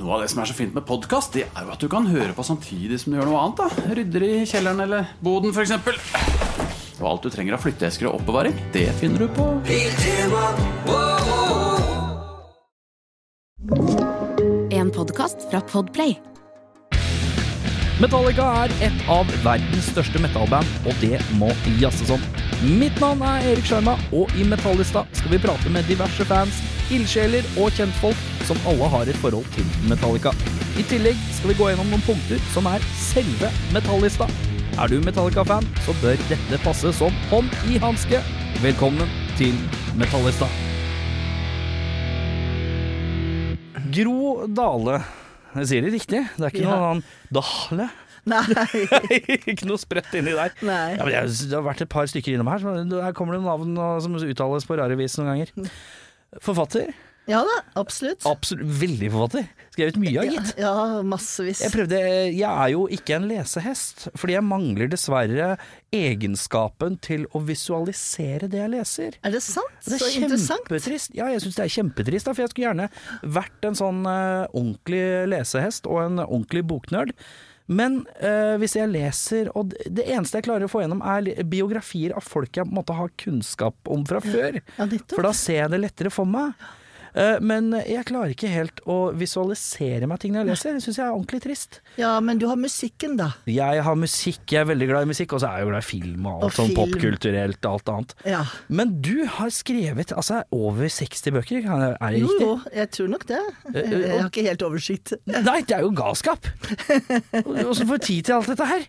Noe av det som er så fint med podkast, det er jo at du kan høre på samtidig som du gjør noe annet. da Rydder i kjelleren eller boden, f.eks. Og alt du trenger av flytteesker og oppbevaring, det finner du på En podcast fra Podplay Metallica er et av verdens største metalband, og det må jazzes om. Mitt navn er Erik Sjarma, og i Metallista skal vi prate med diverse fans, ildsjeler og kjentfolk som alle har et forhold til Metallica. I tillegg skal vi gå gjennom noen punkter som er selve Metallista. Er du Metallica-fan, så bør dette passe som hånd i hanske. Velkommen til Metallista. Gro Dale. Jeg sier det riktig. Det er ikke Ja. noe sånn Dahle. Nei. ikke noe sprøtt inni der. Nei. Ja, men jeg, det har vært et par stykker innom her. Så her kommer det navn og- som uttales på rare vis noen ganger. Forfatter. Ja da, absolutt. Absolutt veldig forfatter. Skrevet mye av, Ja, gitt. ja, massevis. Jeg prøvde Jeg er jo ikke en lesehest, fordi jeg mangler dessverre egenskapen til å visualisere det jeg leser. Er det sant? Det Så er interessant. kjempetrist. Ja, jeg syns det er kjempetrist, da, for jeg skulle gjerne vært en sånn eh, ordentlig lesehest og en ordentlig boknerd. Men eh, hvis jeg leser, og d- det eneste jeg klarer å få gjennom er li- biografier av folk jeg måtte ha kunnskap om fra før. Ja, nettopp. For da ser jeg det lettere for meg. Eh, men jeg klarer ikke helt å visualisere meg ting når jeg leser. Det syns jeg er ordentlig trist. Ja, men du har musikken, da. Jeg har musikk, jeg er veldig glad i musikk, og så er jeg jo glad i film og alt Og sånn film. popkulturelt og alt annet. Ja. Men du har skrevet altså, over 60 bøker, kan det- er det Jo, riktig? jo, jeg tror nok det. eh, Jeg og- har ikke helt oversikt. Det Nei, det er jo galskap! Åssen får du tid til alt dette her?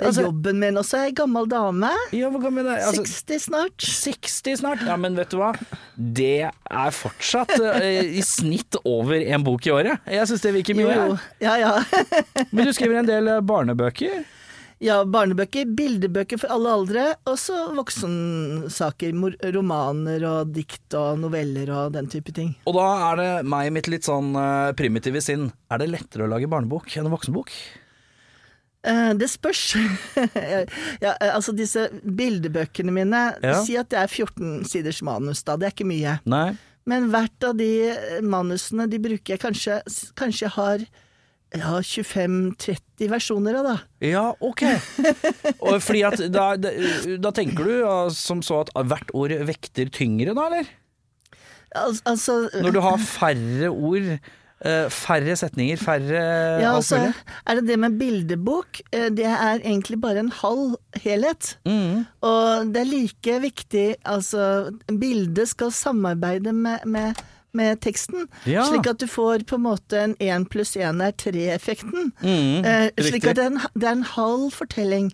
er Altså, jobben min også. Jeg er gammel dame. ja, hvor gammel er altså, 60 snart. 60 snart? Ja, men vet du hva? Det er fortsatt eh, i snitt over en bok i året. Jeg syns det virker Jo, mye. jo. Ja, ja. jeg. Men du skriver en del eh, barnebøker. ja barnebøker, bildebøker for alle aldre, og så voksensaker. mor- Romaner og dikt og noveller og den type ting. Og da er det meg i mitt litt sånn eh, primitive sinn. Er det lettere å lage barnebok enn en voksenbok? Eh, Det spørs. ja, eh, altså disse bildebøkene mine Ja. Si at det er 14 siders manus, da. Det er ikke mye. Nei. Men hvert av de eh, manusene de bruker jeg kanskje, s- kanskje jeg har ja, 25-30 versjoner av, da. Ja, ok. Og fordi at da, da, da tenker du ja, som så at hvert ord vekter tyngre da, eller? Al altså Når du har færre ord, eh, færre setninger, færre ja, eh, alt altså, mulig. er det det med bildebok? eh, Det er egentlig bare en halv helhet. Mm. Og det er like viktig Altså, bildet skal samarbeide med, med, med teksten, Ja. slik at du får på en måte en én pluss én er tre-effekten. eh, slik Mm, riktig. at det er, en, det er en halv fortelling,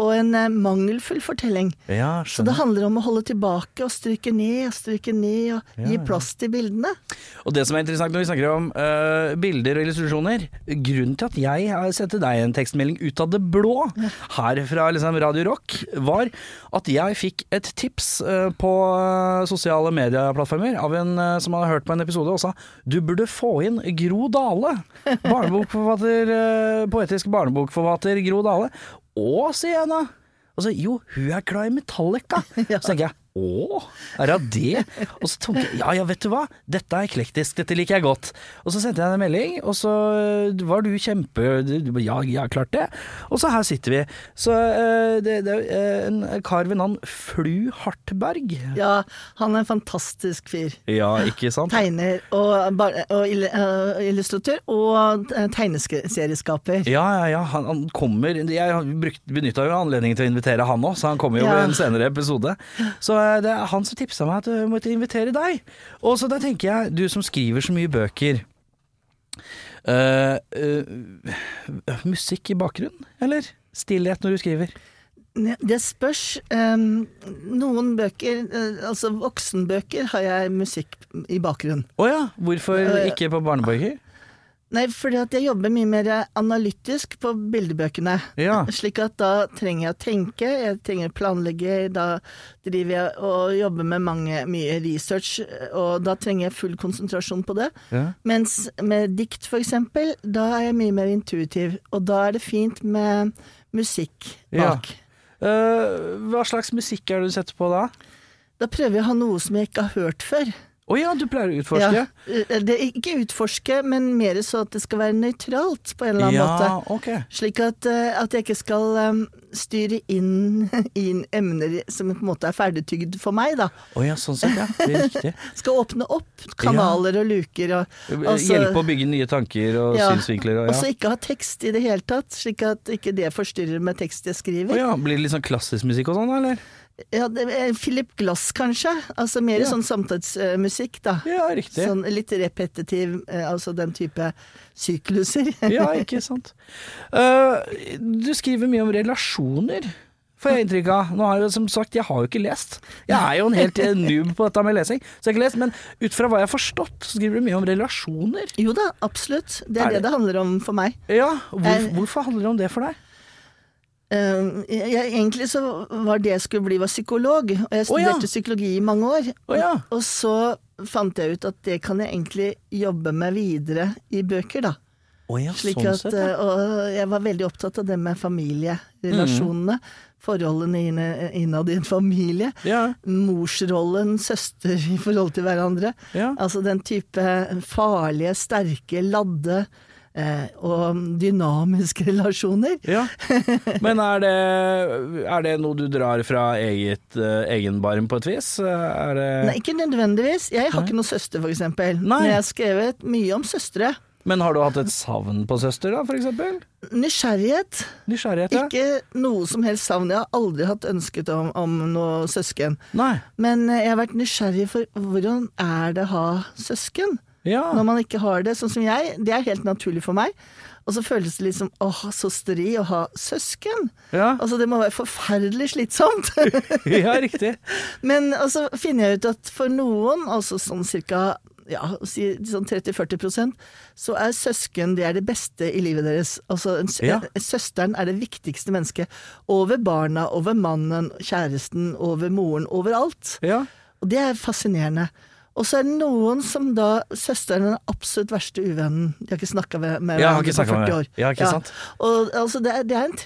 og en eh, mangelfull fortelling. Ja, Så det skjønner. handler om å holde tilbake og stryke ned og stryke ned og gi plass til bildene. Og det som er interessant når vi snakker om eh, bilder og illustrasjoner Grunnen til at jeg har sendte deg en tekstmelding ut av det blå her fra liksom, Radio Rock, var at jeg fikk et tips eh, på eh, sosiale medieplattformer av en eh, som hadde hørt på en episode og sa du burde få inn Gro Dale. Barnebokforfatter, eh, poetisk barnebokforfatter Gro Dale. Å, sier jeg da. Og så, jo, hun er glad i Metallica. Så tenker jeg, å, er hun det? Og så tenker jeg, ja ja, vet du hva, dette er eklektisk, dette liker jeg godt. Og så sendte jeg henne en melding, og så var du kjempe... du- du- Ja, ja, klart det. Og så her sitter vi. Så eh, det, det er jo, eh, en kar ved navn Flu Hartberg. Ja, han er en fantastisk fyr. Ja, ikke sant? Tegner og, bar- og ill- eh, illustratør og eh, tegneserieskaper. Ja, ja, ja. Han, han kommer Jeg brukt, benytta jo anledningen til å invitere han òg, så han kommer jo Ja. i en senere episode. Så eh, det er han som tipsa meg at eh, jeg måtte invitere deg. Og så da tenker jeg, du som skriver så mye bøker eh, eh, Musikk i bakgrunnen, eller? Stillhet når du skriver. Det spørs. em, noen bøker, eh, altså voksenbøker, har jeg musikk i bakgrunnen. Å ja, hvorfor ikke på barnebøker? Nei, fordi at jeg jobber mye mer analytisk på bildebøkene. Ja. Slik at da trenger jeg å tenke, jeg trenger å planlegge, da driver jeg og jobber med mange, mye research, og da trenger jeg full konsentrasjon på det. Ja. Mens med dikt for eksempel, da er jeg mye mer intuitiv, og da er det fint med musikk Ja. bak. Eh, hva slags musikk er det du setter på da? Da prøver jeg å ha noe som jeg ikke har hørt før. Å Å ja, du pleier å utforske? Ja. Eh, Det, ikke utforske, men mer så at det skal være nøytralt på en eller annen måte. ok. Slik at, eh, at jeg ikke skal eh, styre inn, inn emner som på en måte er ferdigtygd for meg, da. Å ja, sånn sett, ja. Det er riktig. Skal åpne opp kanaler og luker og altså- Hjelpe å bygge nye tanker og Ja. Altså, synsvinkler og Og så ja. ikke ha tekst i det hele tatt, slik at ikke det forstyrrer med tekst jeg skriver. Å ja, blir det litt sånn klassisk musikk og sånn, eller? Ja, det er Philip Glass, kanskje. Altså mer sånn samtidsmusikk, da. Ja, riktig. Sånn litt repetitiv, eh, altså den type sykluser. Ja, ikke sant. Eh, du skriver mye om relasjoner, får jeg inntrykk av. Nå har jeg jo som sagt, jeg har jo ikke lest. Jeg er jo en helt eh, noob på dette med lesing, så jeg har ikke lest. Men ut fra hva jeg har forstått, så skriver du mye om relasjoner. Jo da, absolutt. Det Er er, det det- det handler om for meg. Ja, hvor, Eh. hvorfor handler det om det for deg? Eh, jeg, egentlig så var det jeg skulle bli, var psykolog, og jeg Å, ja. studerte psykologi i mange år. Å ja. Og så fant jeg ut at det kan jeg egentlig jobbe med videre i bøker, da. Å ja, Slik sånn at, sett. Ja. eh, og jeg var veldig opptatt av det med familierelasjonene. Forholdene inne- innad i en familie. Mm. Ja. Morsrollen, søster i forhold til hverandre. Ja. Altså den type farlige, sterke, ladde eh, og dynamiske relasjoner. Ja. Men er det, er det noe du drar fra eget, eh, egen barm på et vis? Eh, Er det, Nei, ikke nødvendigvis. Jeg har ikke noen søster, for eksempel. Nei. Men jeg har skrevet mye om søstre. Men har du hatt et savn på søster, da, for eksempel? Nysgjerrighet. Nysgjerrighet, ja? Ikke noe som helst savn. Jeg har aldri hatt ønsket om, om noe søsken. Nei. Men eh, jeg har vært nysgjerrig for hvordan er det å ha søsken? Ja. Når man ikke har det, sånn som jeg. Det er helt naturlig for meg. Og så føles det litt som åh, så stri å ha søsken. Ja. Altså, det må være forferdelig slitsomt. ja, riktig. Men og så finner jeg ut at for noen, altså sånn cirka ja, si, sånn 30-40 så er søsken det er det beste i livet deres. Altså en, sø- Ja. Søsteren er det viktigste mennesket. Over barna, over mannen, kjæresten, over moren, overalt. Ja. Og det er fascinerende. Og så er det noen som da Søsteren er den absolutt verste uvennen. De har ikke snakka med, med Ja, har ikke hverandre snakket på med 40 hver- år. Ja, ikke sant? Og altså, det, er, det er en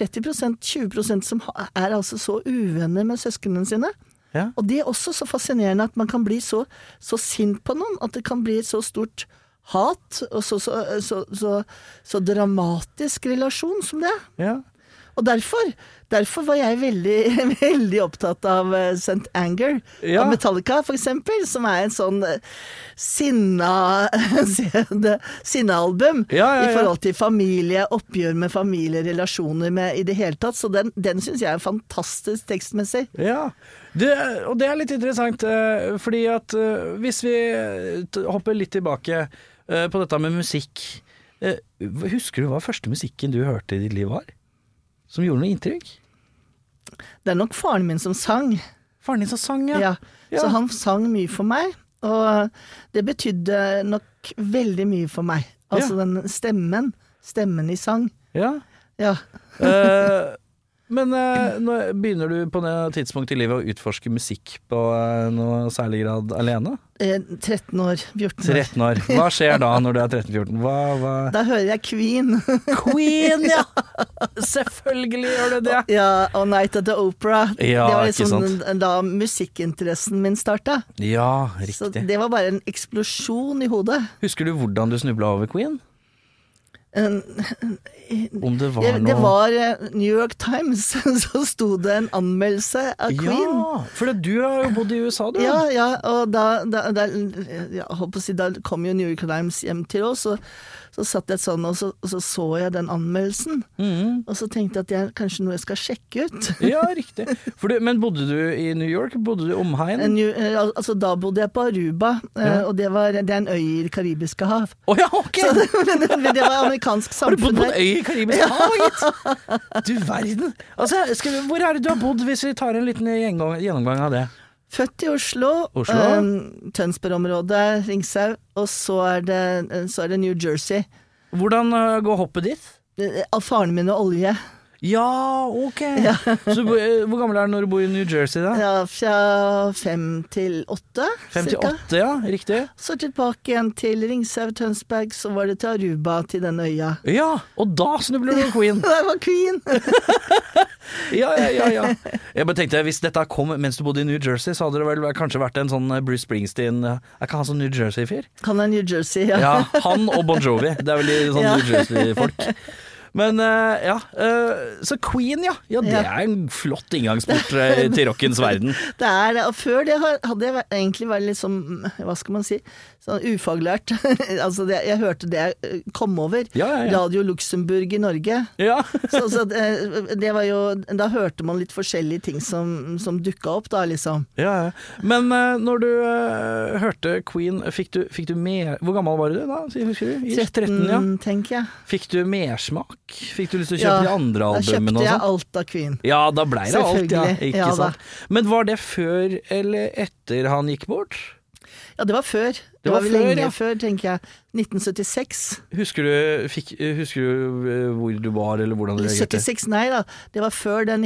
30 20 som ha- er altså så uvenner med søsknene sine. Ja. Og det er også så fascinerende at man kan bli så, så sint på noen, at det kan bli et så stort hat og så, så, så, så, så dramatisk relasjon som det. er. Ja. Og derfor, derfor var jeg veldig, veldig opptatt av eh, St. Anger Ja. av Metallica, for eksempel, som er en sånn eh, sinna det- sinnealbum Ja, ja, ja. i forhold til familie, oppgjør med familie, relasjoner med i det hele tatt. Så den, den syns jeg er fantastisk tekstmessig. Ja, det, og det er litt interessant, eh, fordi at eh, hvis vi t- hopper litt tilbake eh, på dette med musikk eh, Husker du hva første musikken du hørte i ditt liv var? Som gjorde noe inntrykk? Det er nok faren min som sang. Faren din som sang, Ja. ja. Så han sang mye for meg, og det betydde nok veldig mye for meg. Altså Ja. den stemmen. Stemmen i sang. Ja. Ja. Eh, men eh, nå begynner du på det tidspunktet i livet å utforske musikk på eh, noe særlig grad alene? Eh, 13 år, 14 år. 13 år. Hva skjer da, når du er 13-14? Hva, hva Da hører jeg Queen. Queen, ja! Selvfølgelig gjør du det! ja, og Night at the Opera. Ja, det var ikke liksom da musikkinteressen min starta. Ja, Så riktig. det var bare en eksplosjon i hodet. Husker du hvordan du snubla over Queen? En- Om det var Det, noe det var eh, New York Times, så sto det en anmeldelse av Queen. Ja, for det- du har jo bodd i USA, du. Ja, ja, og da, da, da, ja, jeg håper å si, da kom jo New York Times hjem til oss, og så satt jeg sånn, og så og så, så jeg den anmeldelsen. Mm. Og så tenkte jeg at det er kanskje noe jeg skal sjekke ut. Ja, riktig. For du, men bodde du i New York? Bodde du i En omegn? Å New, eh, al- altså, da bodde jeg på Aruba, eh, Ja. og det, var, det er en øy i Det karibiske hav. ja, ok! Men det var amerikansk Har du bodd samfunn på der. en øy i Karibisk hav, gitt? Du verden. Altså, skal, vi- hvor er det du har bodd, hvis vi tar en liten gjennomgang, gjennomgang av det? Født i Oslo, Oslo. eh, Tønsberg-området, Ringsau, og så er, det, så er det New Jersey. Hvordan øh, går eh, hoppet ditt? Eh, Faren min og olje. Ja, ok! Så du bo- eh, hvor gammel er du når du bor i New Jersey, da? Ja, fra fem til åtte. Fem til cirka. åtte, ja? Riktig? Så tilbake igjen til Ringsau, Tønsberg, så var det til Aruba, til den øya. Ja! Og da snubler du over Queen! Der var Queen! Ja, ja, ja, ja. Jeg bare tenkte, hvis dette kom mens du bodde i New Jersey, så hadde det vel kanskje vært en sånn Bruce Springsteen Er ikke han sånn New Jersey-fyr? Han er New Jersey, ja. Ja, han og Bon Jovi. Det er vel de sånn Ja. New Jersey-folk. Men eh, ja, eh, så Queen, ja. Ja, Det Ja. er en flott inngangsport eh, til rockens verden. Det er det. Og før det har- hadde jeg vært- egentlig vært litt sånn, hva skal man si, sånn ufaglært. altså, det, jeg hørte det jeg kom over. Ja, ja, ja. Radio Luxembourg i Norge. Ja. Så, så det, det var jo, da hørte man litt forskjellige ting som, som dukka opp, da, liksom. ja, ja. Men eh, når du eh, hørte Queen, fikk du, fikk du mer Hvor gammel var du da? sier- Husker du? Ish, 13, ja. tenker jeg. Fikk du mersmak? Fikk du lyst til å Ja, kjøpe de andre Da albumene? og kjøpte jeg sånn? alt av Queen. Ja, da blei det alt, ja. Selvfølgelig. Ikke Ja, da. sant? Men var det før eller etter han gikk bort? Ja, det var før. Det, var var, vel før, lenge ja. før, tenker jeg. 1976. Husker du, fikk, husker du eh, hvor du var, eller hvordan du Eller reagerte? 76, nei da. Det var før det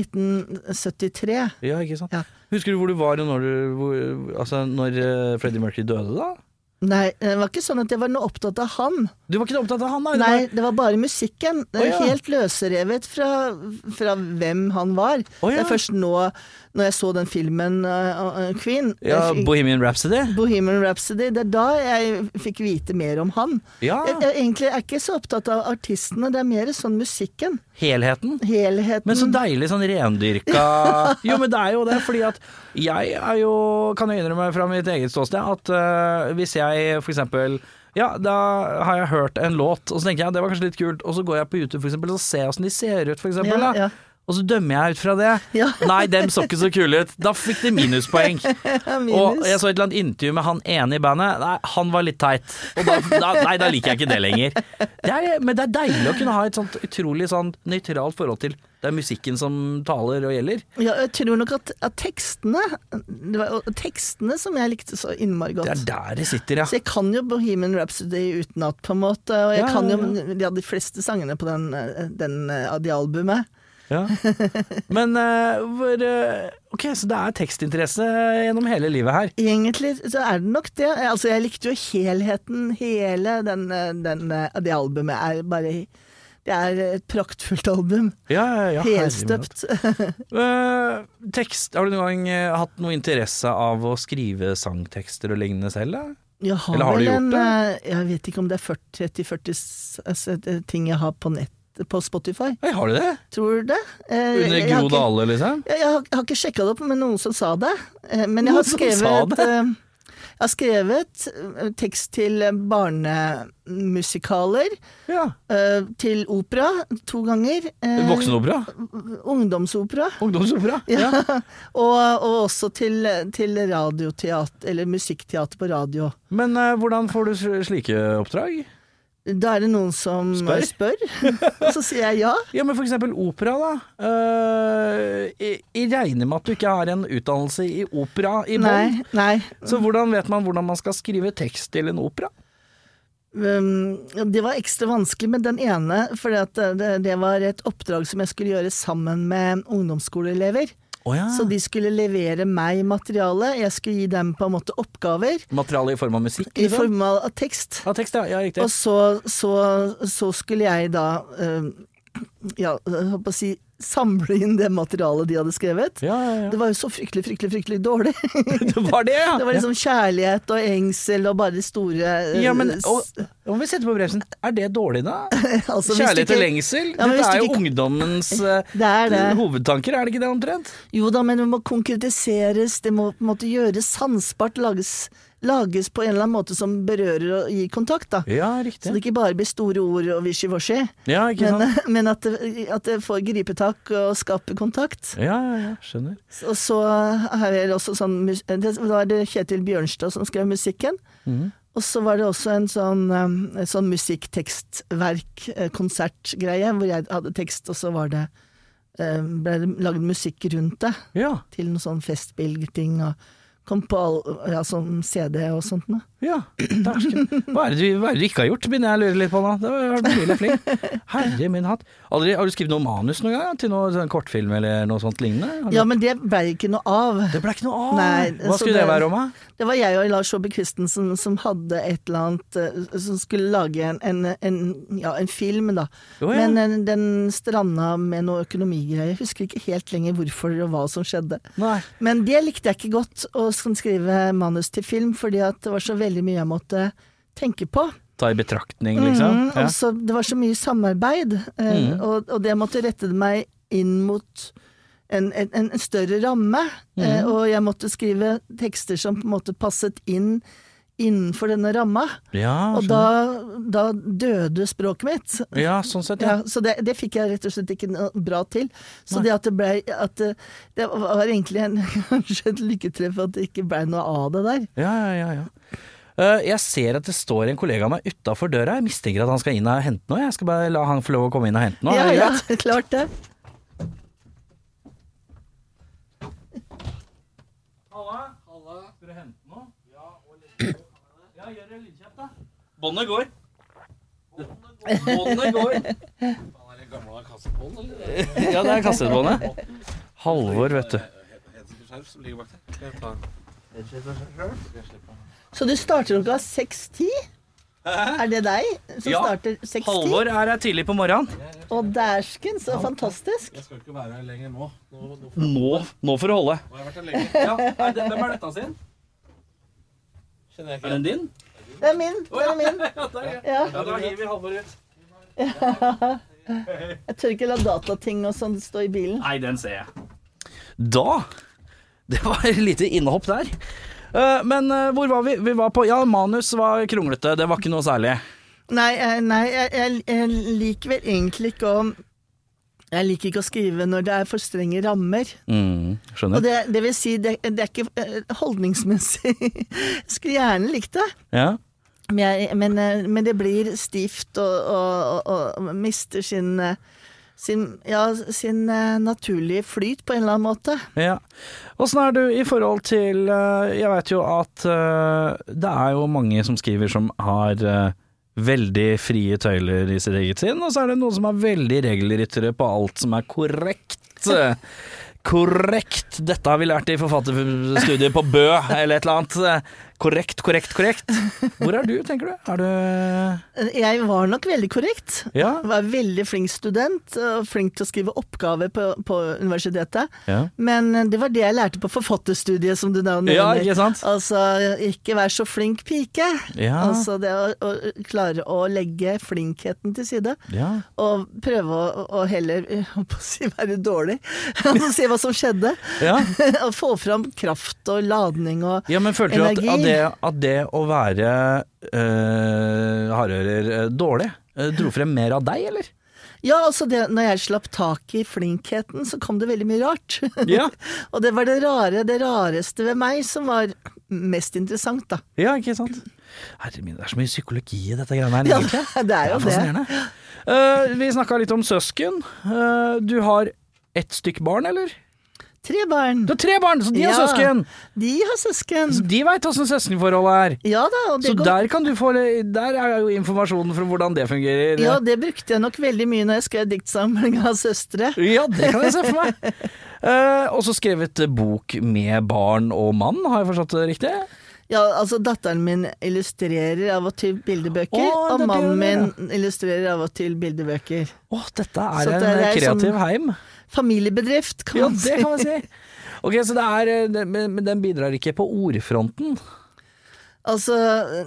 1973. Ja, ikke sant? Ja. Husker du hvor du var når, du, hvor, altså, når eh, Freddie Mercury døde, da? Nei, det var ikke sånn at jeg var noe opptatt av han. Du var ikke opptatt av han, da? eller? Nei, det var bare musikken. Det er Å, ja. Helt løsrevet fra, fra hvem han var. Å, ja. Det er først nå, når jeg så den filmen uh, uh, Queen, Ja, jeg fikk- Bohemian Rhapsody? Bohemian Rhapsody, det er da jeg fikk vite mer om han. Ja. Jeg, jeg egentlig er ikke så opptatt av artistene, det er mer sånn musikken. Helheten? Helheten. Men så deilig sånn rendyrka Jo, men det er jo det, fordi at jeg er jo Kan jo innrømme fra mitt eget ståsted at eh, hvis jeg for eksempel ja, da har jeg hørt en låt, og så tenker jeg det var kanskje litt kult, og så går jeg på YouTube for eksempel, og så ser jeg åssen de ser ut, for eksempel. Ja, da. ja. Og så dømmer jeg ut fra det. Ja. Nei, dem så ikke så kule ut. Da fikk de minuspoeng. Og jeg så et eller annet intervju med han ene i bandet. Nei, han var litt teit. Og da, da, nei, da liker jeg ikke det lenger. Det er, men det er deilig å kunne ha et sånt utrolig sånn nøytralt forhold til det er musikken som taler og gjelder. Ja, jeg tror nok at, at tekstene Det var jo tekstene som jeg likte så innmari Det er godt. der det sitter, Så ja. jeg kan jo Bohemian Rhapsody utenat, på en måte. Og jeg Ja, kan jo ja, ja, de fleste sangene på den, eh, den, av de albumet. ja. Men eh, hvor eh, Ok, så det er tekstinteresse gjennom hele livet her. Egentlig så er det nok det. Altså, jeg likte jo helheten, hele den, eh, den, det albumet. Er bare, det er et praktfullt album. Ja, ja, ja, herregud. altså. Helstøpt. Eh, tekst Har du noen gang eh, hatt noe interesse av å skrive sangtekster og lignende selv, da? Jeg har, Eller har du vel gjort en, det? eh, Jeg vet ikke om det er 40-40 s- altså, det- ting jeg har på nett på Spotify. Oi, har du det? Tror du det? Eh, Under jeg- jeg har Gro ikke- Dale, liksom? Jeg, jeg har, jeg har ikke sjekka det opp med noen som sa det, eh, men jeg Noen har som sa skrevet det? eh, jeg har skrevet eh, tekst til eh, barnemusikaler, Ja. eh, til opera to ganger. eh, Voksenopera? Ungdomsopera. Ungdomsopera? Ja. og, og også til, til radioteater, eller musikkteater på radio. Men eh, hvordan får du sl- slike oppdrag? Da er det noen som Spør? spør, og så sier jeg ja. Ja, men for eksempel opera, da. Eh, jeg, jeg regner med at du ikke har en utdannelse i opera i bånn. Nei, nei. Så hvordan vet man hvordan man skal skrive tekst til en opera? Um, det var ekstra vanskelig med den ene, for det, det var et oppdrag som jeg skulle gjøre sammen med ungdomsskoleelever. Oh, ja. Så de skulle levere meg materiale, jeg skulle gi dem på en måte oppgaver Materiale i form av musikk? i Liksom? form av tekst. Av tekst, ja. ja riktig. Og så, så, så skulle jeg da um, ja, jeg holdt på å si samle inn det materialet de hadde skrevet. Ja, ja, Det var jo så fryktelig, fryktelig, fryktelig dårlig. ja. Det var det, ja! Det var liksom kjærlighet og engsel og bare de store eh, ja, men, s- og, om vi setter på bremsen, er det dårlig da? altså, hvis du Kjærlighet og ikke- Ja, lengsel? men Dette hvis er du jo ikke- ungdommens eh, Det er det. hovedtanker, er det ikke det omtrent? Jo da, men det må konkretiseres, det må på en måte gjøres sansbart, lages, lages på en eller annen måte som berører og gir kontakt, da. Ja, Så det riktig. ikke bare blir store ord og wishy-washy, Ja, ikke men, sant? men at, det, at det får gripe tak og skape kontakt. Ja, ja, ja, skjønner. Og så har jeg også sånn mus- det, Da var det Kjetil Bjørnstad som skrev musikken. Mhm. Og så var det også en sånn, um, en sånn musikktekstverk-konsertgreie, hvor jeg hadde tekst, og så var det eh, um, ble det lagd musikk rundt det. Ja. Til noe sånn festspillting og kom på all, ja, som CD og sånt noe. Ja, dæsken. Hva, er det du- hva er det du ikke har gjort, begynner jeg å lure litt på nå. Det var mulig flink. Herre min hatt. Aldri, har du skrevet noe manus noen gang? Til noe sånn kortfilm eller noe sånt lignende? Har du- Ja, men det ble ikke noe av. Det ble ikke noe av! Nei, Hva så skulle det, være om, da? Det var jeg og Lars Saabye Christensen som hadde et eller annet eh, Som skulle lage en, en, en, ja, en film, da. Å, ja. Men eh, den stranda med noe økonomigreier. Jeg husker ikke helt lenger hvorfor og hva som skjedde. Nei. Men det likte jeg ikke godt å sk- skrive manus til film, fordi at det var så veldig mye jeg måtte tenke på. Ta i betraktning, liksom? Mm, ja. Mm. og så det var så mye samarbeid, eh, og, og det måtte rette meg inn mot en, en, en større ramme. eh, Mm. Og jeg måtte skrive tekster som på en måte passet inn innenfor denne ramma. Ja, Og Ah, skjønner. da, da døde språket mitt. ja, sånn sett, ja. Ja, så det, det fikk jeg rett og slett ikke noe bra til. Så det at det blei at det, det var egentlig en, kanskje et lykketreff at det ikke blei noe av det der. Ja, ja, ja, ja. Eh, jeg ser at det står en kollega av meg utafor døra. Jeg mistenker at han skal inn og hente noe. Jeg skal bare la han få lov å komme inn og hente noe. Ja, Er det ja, greit? klart det. Båndet går. Båndet går. Ja, det er kassettbåndet. Halvor, vet du. Så du starter klokka 6.10? Er det deg som Ja, starter 6.10? Halvor er her tidlig på morgenen. Å, dæsken, så fantastisk. Jeg skal ikke være her lenger nå. Nå, nå får Nå, nå får du holde. nå har jeg vært her lenge. Hvem er dette sin? Kjenner jeg Er ikke den din? Det er min. det er min. Ja, Ja, da hiver Halvor ut. jeg tør ikke la datating og sånn stå i bilen. Nei, den ser jeg. Da Det var et lite innhopp der. Eh, Men eh, hvor var vi? Vi var på Ja, manus var kronglete. Det var ikke noe særlig. Nei, eh, nei jeg, jeg, jeg liker vel egentlig ikke å jeg liker ikke å skrive når det er for strenge rammer. Og Mm, skjønner. det, det vil si, det, det er ikke eh, holdningsmessig. Jeg skulle gjerne likt det, Ja. men, jeg, men, eh, men det blir stivt og, og, og, og mister sin, eh, sin, ja, sin eh, naturlige flyt på en eller annen måte. Ja. Åssen er du i forhold til eh, Jeg vet jo at eh, det er jo mange som skriver som har eh, veldig frie tøyler i sitt eget sinn, og så er det noen som er veldig regelryttere på alt som er korrekt. Korrekt! Dette har vi lært i forfatterstudiet på Bø, eller et eller annet. Korrekt, korrekt, korrekt. Hvor er du, tenker du? Er du Jeg var nok veldig korrekt. Ja? Var veldig flink student, og flink til å skrive oppgaver på, på universitetet. Ja. Men det var det jeg lærte på forfatterstudiet, som du nevner. Ja, ikke sant? Altså, ikke vær så flink pike. Ja. Altså det å, å klare å legge flinkheten til side. ja. Og prøve å, å heller jeg holdt på å si, være dårlig, og se hva som skjedde. Ja. og få fram kraft og ladning og Ja, men følte du at, energi. at, det, at det å være øh, hardører øh, dårlig øh, dro frem mer av deg, eller? Ja, altså det, når jeg slapp tak i flinkheten, så kom det veldig mye rart. Ja. og det var det rare, det rareste ved meg som var mest interessant, da. Ja, ikke sant? Herre min, det er så mye psykologi i dette greiene her. Ja, egentlig. det er jo det. fascinerende. Eh, vi snakka litt om søsken. Eh, du har ett stykk barn, eller? Tre barn. Du har tre barn, så de har Ja, søsken! De har søsken. Så de veit åssen søskenforholdet er. Ja da, og det Så går der, kan du få, der er jo informasjonen fra hvordan det fungerer. ja, det brukte jeg nok veldig mye når jeg skrev diktsamling av søstre. Ja, det kan jeg se for meg. Eh, også skrevet eh, bok med barn og mann, har jeg forstått det riktig? Ja, altså Datteren min illustrerer av og til bildebøker, Å, det og er det mannen hun min gjør, illustrerer av og til bildebøker. Åh, dette Så er en det er kreativ sånn- heim. Familiebedrift, kan Ja, man si. det kan man si. Ok, så det er, eh, det- Men men den bidrar ikke på ordfronten. Altså,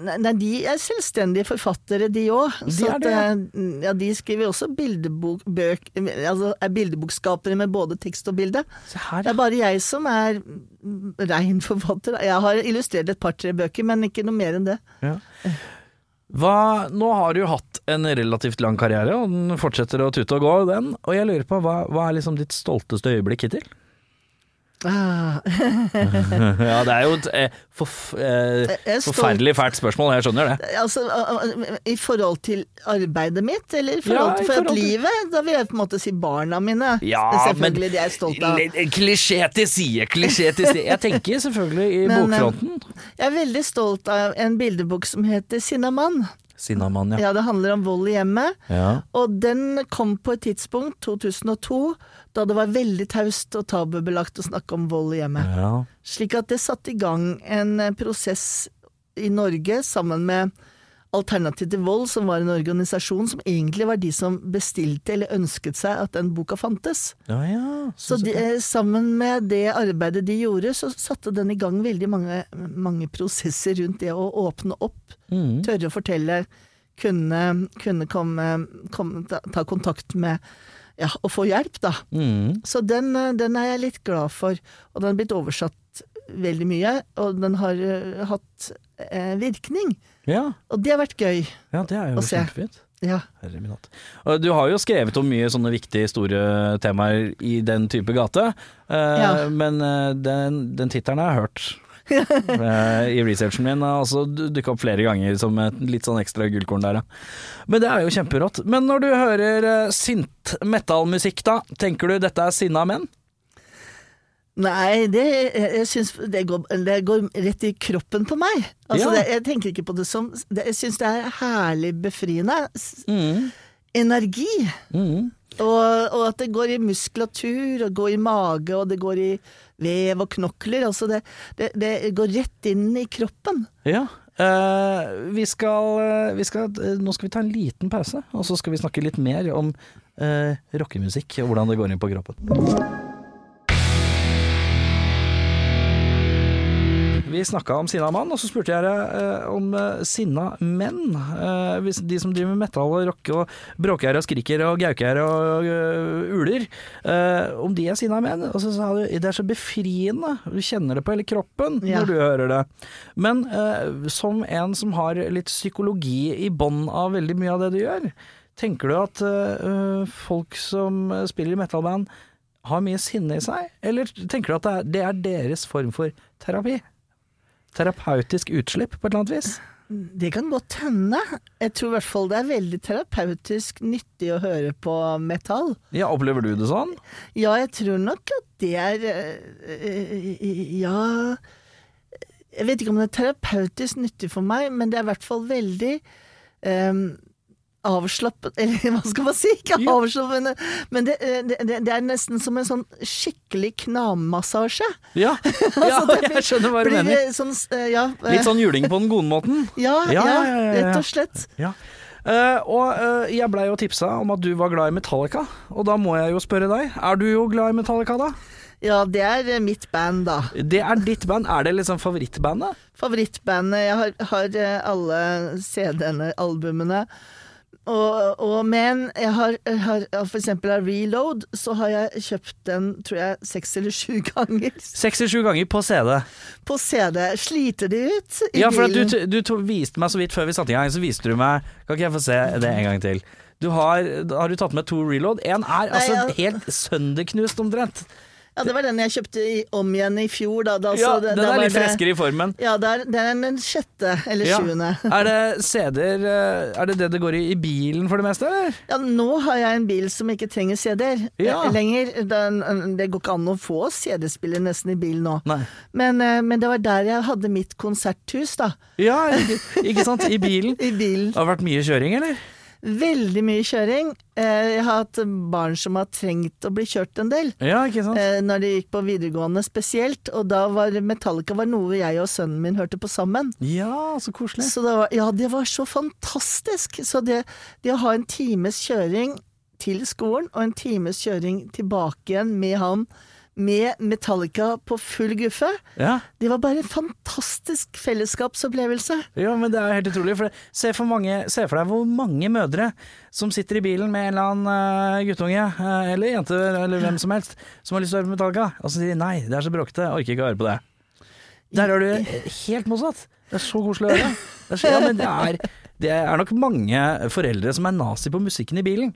nei, nei, de er selvstendige forfattere, de òg. De er det, ja. eh, ja, de skriver også bildebok, bøk, altså er bildebokskapere med både tekst og bilde. Se her, Det er ja. bare jeg som er mm, rein forfatter. Jeg har illustrert et par-tre bøker, men ikke noe mer enn det. Hva, nå har du hatt en relativt lang karriere, og den fortsetter å tute og gå, den. Og jeg lurer på, hva, hva er liksom ditt stolteste øyeblikk hittil? Ah, Ja, det er jo et eh, forf eh, jeg er stolt. forferdelig fælt spørsmål, jeg skjønner det. altså, ah, ah, I forhold til arbeidet mitt, eller i forhold Ja, i til, for at forhold til- livet? Da vil jeg på en måte si barna mine. Selvfølgelig, de er jeg stolt av. Le- Klisjé til side, klisjé til side. Jeg tenker selvfølgelig i Men, eh, bokfronten. Jeg er veldig stolt av en bildebok som heter Sinna mann. Sinnamann, ja. Ja, det handler om vold i hjemmet. ja. Og den kom på et tidspunkt, 2002, da det var veldig taust og tabubelagt å snakke om vold i hjemmet. ja. Slik at det satte i gang en eh, prosess i Norge sammen med Alternativ til vold, som var en organisasjon som egentlig var de som bestilte eller ønsket seg at den boka fantes. Ja, ja. Så de, eh, sammen med det arbeidet de gjorde, så satte den i gang veldig mange, mange prosesser rundt det å åpne opp, Mm, tørre å fortelle, kunne, kunne komme, komme, ta, ta kontakt med ja, og få hjelp, da. mm. Så den, eh, den er jeg litt glad for, og den er blitt oversatt veldig mye, og den har eh, hatt eh, virkning. ja. Og det har vært gøy. Ja, det er jo Og se. kjempefint. Ja. Herre min hatt. Og Du har jo skrevet om mye sånne viktige, store temaer i den type gate, eh, Ja. men eh, den, den tittelen har jeg hørt. Eh, I researchen min har også dukka opp flere ganger som et litt sånn ekstra gullkorn der, ja. Men det er jo kjemperått. Men når du hører eh, sint metallmusikk da, tenker du dette er sinna menn? Nei, det, jeg jeg syns det, går, det går rett i kroppen på meg. Altså, Ja. det, jeg tenker ikke på det som det, Jeg syns det er herlig befriende. S- Mm, Energi. Og, og at det går i muskulatur, og går i mage, og det går i vev og knokler. Altså det, det, det går rett inn i kroppen. Ja. Eh, vi skal, eh, vi skal eh, Nå skal vi ta en liten pause, og så skal vi snakke litt mer om eh, rockemusikk og hvordan det går inn på kroppen. Vi snakka om sinna mann, og så spurte jeg deg eh, om eh, sinna menn. Eh, hvis de som driver med metal og rock og bråker og skriker og gauker og eh, uler, eh, om de er sinna menn. Og så sa du det er så befriende, du kjenner det på hele kroppen Ja. når du hører det. Men eh, som en som har litt psykologi i bånn av veldig mye av det du gjør, tenker du at eh, folk som spiller i metalband har mye sinne i seg, eller tenker du at det er, det er deres form for terapi? Terapeutisk utslipp, på et eller annet vis? Det kan godt hende. Jeg tror i hvert fall det er veldig terapeutisk nyttig å høre på metall. Ja, opplever du det sånn? Ja, jeg tror nok at det er øh, øh, Ja Jeg vet ikke om det er terapeutisk nyttig for meg, men det er i hvert fall veldig øhm, avslappet Eller hva skal man si? Ikke Ja. avslappende, men det, øh, det, det- det er nesten som en sånn skikkelig knamassasje. Ja, ja jeg skjønner hva Altså, du Blir mener. det Sånn, øh, ja, øh, Litt sånn juling på den gode måten. ja, ja, Ja, ja, ja, ja. rett og slett. Ja. Eh, og eh, jeg blei jo tipsa om at du var glad i Metallica, og da må jeg jo spørre deg, er du jo glad i Metallica da? Ja, det er øh, mitt band, da. Det er ditt band. Er det liksom favorittbandet? favorittbandet. Jeg har, har eh, alle CD-ene, albumene. Og, og men jeg har, har for eksempel av Reload, så har jeg kjøpt den tror jeg seks eller sju ganger Seks eller sju ganger på CD. på CD. Sliter de ut i Ja, for at du, bilen? du to viste meg så vidt før vi satte i gang, så viste du meg Kan ikke jeg få se det en gang til? Du har, har du tatt med to reload? En er altså jeg- helt sønderknust omtrent. Ja, det var den jeg kjøpte i, om igjen i fjor. Da, da, så Ja, Altså, det- den da er var litt det- freskere i formen. Ja, det er, det er den sjette eller Ja. sjuende. Er det CD-er eh, Er det det det går i i bilen for det meste, eller? Ja, nå har jeg en bil som ikke trenger CD-er Ja. eh, lenger. Den, det går ikke an å få CD-spiller nesten i bil nå. Nei. Men, eh, men det var der jeg hadde mitt konserthus, da. Ja, ikke, ikke sant? I bilen. I bilen. Det har vært mye kjøring, eller? Veldig mye kjøring. Eh, Jeg har hatt barn som har trengt å bli kjørt en del. Ja, ikke sant? eh, Når de gikk på videregående spesielt, og da var Metallica var noe jeg og sønnen min hørte på sammen. Ja, så koselig. Så det var, ja, det var så fantastisk! Så det, det å ha en times kjøring til skolen og en times kjøring tilbake igjen med han, med Metallica på full guffe, Ja. det var bare en fantastisk fellesskapsopplevelse. Ja, men det er jo helt utrolig. For det, se, for mange, se for deg hvor mange mødre som sitter i bilen med en eller annen eh, guttunge, eh, eller jente, eller hvem som helst, som har lyst til å høre på Metallica, og så sier de nei, det er så bråkete, jeg orker ikke å høre på det. Der har du eh, helt motsatt. Det er så koselig å høre. Det er, så, ja, men det er, det er nok mange foreldre som er nazi på musikken i bilen.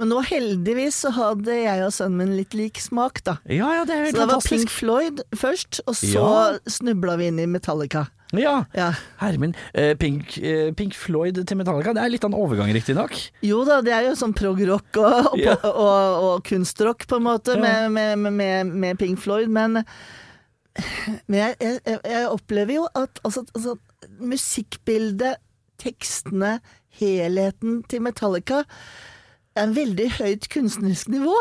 Men nå heldigvis så hadde jeg og sønnen min litt lik smak, da. Ja, ja, det Så er helt det var Pink fantastisk. Floyd først, og så Ja. snubla vi inn i Metallica. Ja. Ja. Herre min. eh, Pink, eh, Pink Floyd til Metallica, det er litt av en overgang, riktignok. Jo da, det er jo sånn prog-rock og, og, Ja. og, og, kunstrock, på en måte, Ja. med, med, med- med, med Pink Floyd, men, men jeg, jeg, jeg- jeg opplever jo at altså, altså, musikkbildet, tekstene, helheten til Metallica er en veldig høyt kunstnerisk nivå.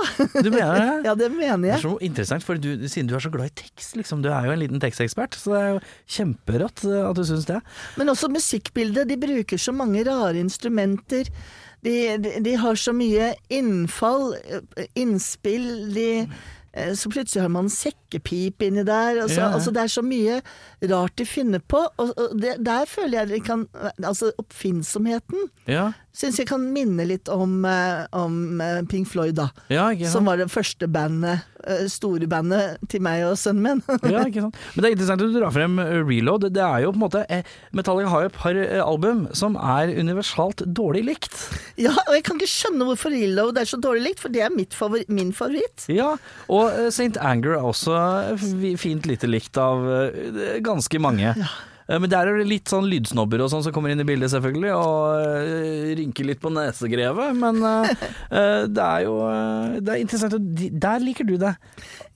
Du mener det? ja, det mener Det jeg. er så interessant, for du, siden du er så glad i tekst, liksom. Du er jo en liten tekstekspert, så det er jo kjemperått eh, at du syns det. Men også musikkbildet. De bruker så mange rare instrumenter. De, de, de har så mye innfall, eh, innspill. De, eh, så plutselig har man en sekkepip inni der. Og så, Ja, ja. altså, det er så mye rart de finner på. Og, og det, der føler jeg de kan Altså oppfinnsomheten Ja, syns jeg kan minne litt om, eh, om eh, Pink Floyd, da. ja ikke sant. Som var det første bandet, eh, store bandet til meg og sønnen min. Ja, ikke sant? Men det er interessant at du drar frem eh, Reload. Det er jo på en måte eh, Metallica har jo et par eh, album som er universalt dårlig likt. Ja, og jeg kan ikke skjønne hvorfor Reload er så dårlig likt, for det er mitt favori min favoritt. Ja, og eh, St. Anger er også fi- fint lite likt av eh, ganske mange. Eh, Men der er det litt sånn lydsnobber og sånn som kommer inn i bildet, selvfølgelig. Og eh, rynker litt på nesegrevet. Men eh, eh, det er jo eh, Det er interessant. at de- Der liker du det.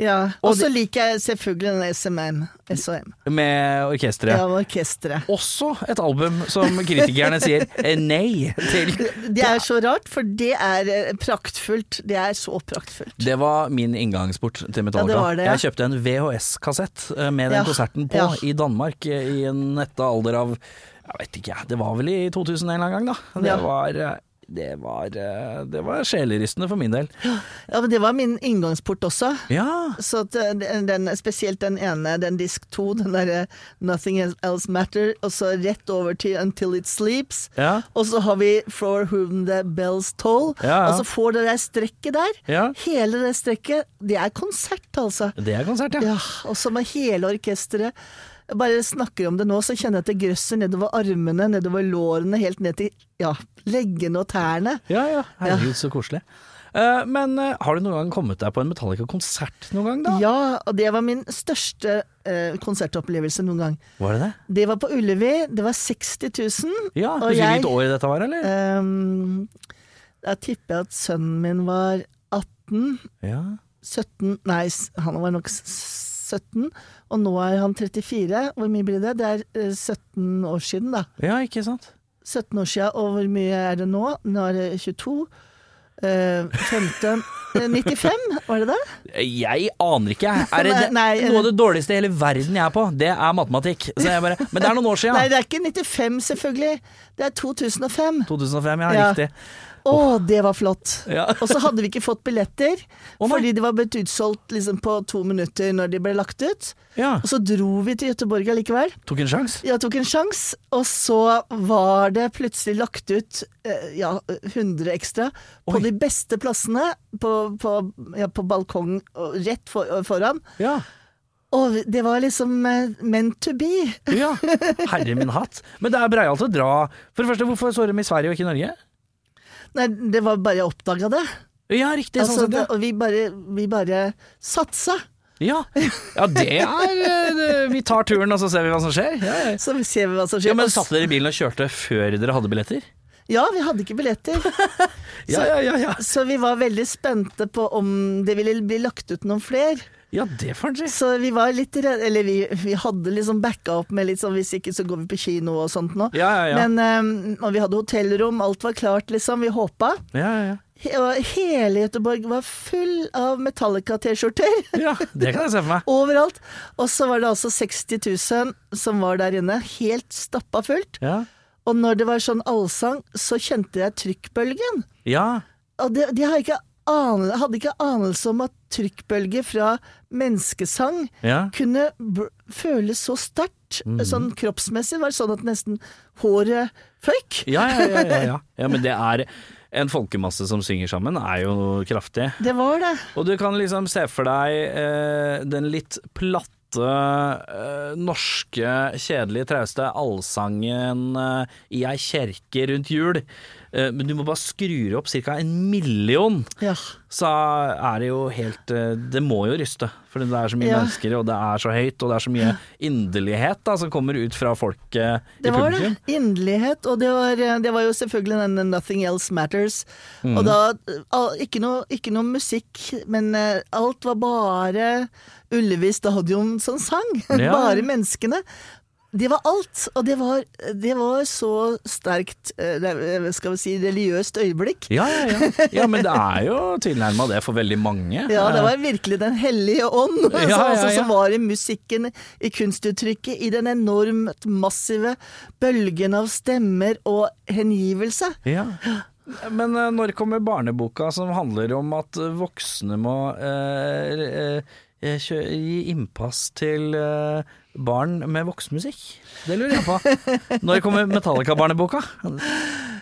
Ja. Og Og så liker jeg selvfølgelig den SMM, SOM, Med orkesteret. ja, orkesteret. Også et album som kritikerne sier eh, nei til. Det er så rart, for det er eh, praktfullt. Det er så praktfullt. Det var min inngangsport til Ja, Metallica. det var det, ja. Jeg kjøpte en VHS-kassett eh, med den Ja, konserten på ja. i Danmark eh, i en nette alder av Jeg vet ikke, jeg. Det var vel i 2000 en eller annen gang, da. Det Ja. var eh, det var, eh, det var sjelerystende for min del. Ja, men det var min inngangsport også. Ja, Så at eh, den, den- spesielt den ene, den disk to, den derre 'Nothing Else Matter', og så rett over til 'Until It Sleeps'. Ja. Og så har vi 'For Whom The Bells Toll'. Ja, ja. Og så får det der strekket der. Ja. Hele det strekket. Det er konsert, altså. det er konsert, ja. Ja, og så med hele orkesteret. Jeg bare snakker om det nå, så kjenner jeg at det grøsser nedover armene, nedover lårene, helt ned til ja, leggene og tærne. Ja ja, herregud så koselig. Eh, Men eh, har du noen gang kommet deg på en Metallica-konsert noen gang, da? Ja, og det var min største eh, konsertopplevelse noen gang. Var det det? Det var på Ullevi, det var 60 000. Ja, Og Husker du jeg- hvilket år dette var, eller? Ehm, da tipper jeg at sønnen min var 18, Ja. 17 Nei, s- han var nok s- 17, og nå er han 34. Hvor mye blir det? Det er eh, 17 år siden, da. ja, ikke sant? 17 år siden, og hvor mye er det nå? Nå er det 22. eh, 15 eh, 95, var det det? Jeg aner ikke. Er det, Nei, nei, noe av det dårligste i hele verden jeg er på, det er matematikk. Så jeg bare, men det er noen Nei, år siden. det er ikke 95, selvfølgelig. Det er 2005. 2005, ja, Ja. riktig. Å, det var flott. Ja. Og så hadde vi ikke fått billetter, Å, nei. fordi de var blitt utsolgt liksom, på to minutter når de ble lagt ut. Ja, Og så dro vi til Gøteborg allikevel. tok en sjans. Jeg tok en sjanse, og så var det plutselig lagt ut eh, ja, 100 ekstra på Oi. de beste plassene, på, på, ja, på balkong og rett for, foran. Ja, Og det var liksom eh, meant to be. ja. Herre min hatt. Men det er breialt å dra. For det første, hvorfor så dem i Sverige og ikke i Norge? Nei, det var bare jeg oppdaga det. Ja, riktig. altså, sånn det sett, og vi bare, vi bare satsa. ja. Ja. ja, det er eh, det- Vi tar turen, og så ser vi hva som skjer. Ja, ja. Så ser vi hva som skjer. Ja, men Og s- Satt dere i bilen og kjørte før dere hadde billetter? ja, vi hadde ikke billetter. Ja, ja, ja. Ja, Så vi var veldig spente på om det ville bli lagt ut noen flere. ja det får en si. Så vi var litt redde, eller vi, vi hadde liksom backa opp med litt sånn hvis ikke så går vi på kino og sånt nå. Ja, ja, ja. Men, ehm, og vi hadde hotellrom, alt var klart liksom, vi håpa. Ja, ja, ja. He- Og hele Göteborg var full av Metallica-T-skjorter. ja, det kan jeg se for meg. Overalt. Og så var det altså 60 000 som var der inne, helt stappa fullt. Ja, Og når det var sånn allsang, så kjente jeg trykkbølgen. ja. Og det, de har ikke anel- hadde ikke anelse om at trykkbølger fra menneskesang ja. Mhm. kunne br- føle så sterkt, sånn kroppsmessig, var det sånn at nesten håret føyk. Ja, ja, ja, ja, ja. ja men det er en folkemasse som synger sammen, er jo noe kraftig. Det var det. Og du kan liksom se for deg eh, den litt platte eh, norske, kjedelige, trauste allsangen eh, i ei kjerke rundt jul. Eh, Men du må bare skru opp ca. en million, Ja. så er det jo helt eh, Det må jo ryste. For det er så mye Ja. mennesker, og det er så høyt, og det er så mye inderlighet da, som kommer ut fra folket eh, i Det var det. publikum. Inderlighet. Og det var, eh, det var jo selvfølgelig denne 'Nothing Else Matters'. Mm. Og da all, ikke, noe, ikke noe musikk, men eh, alt var bare Ullevi Stadion som sang. Ja. bare menneskene. Det var alt, og det var, det var så sterkt eh, det- skal vi si, religiøst øyeblikk. Ja, ja, ja. ja, men det er jo tilnærma det for veldig mange. Ja, det var virkelig Den hellige ånd altså, ja, altså, ja. som var i musikken, i kunstuttrykket, i den enormt massive bølgen av stemmer og hengivelse. Ja. Men eh, når kommer barneboka som handler om at eh, voksne må eh, eh, kjø gi innpass til eh, barn med voksenmusikk? Det lurer jeg på. Når kommer Metallica-barneboka?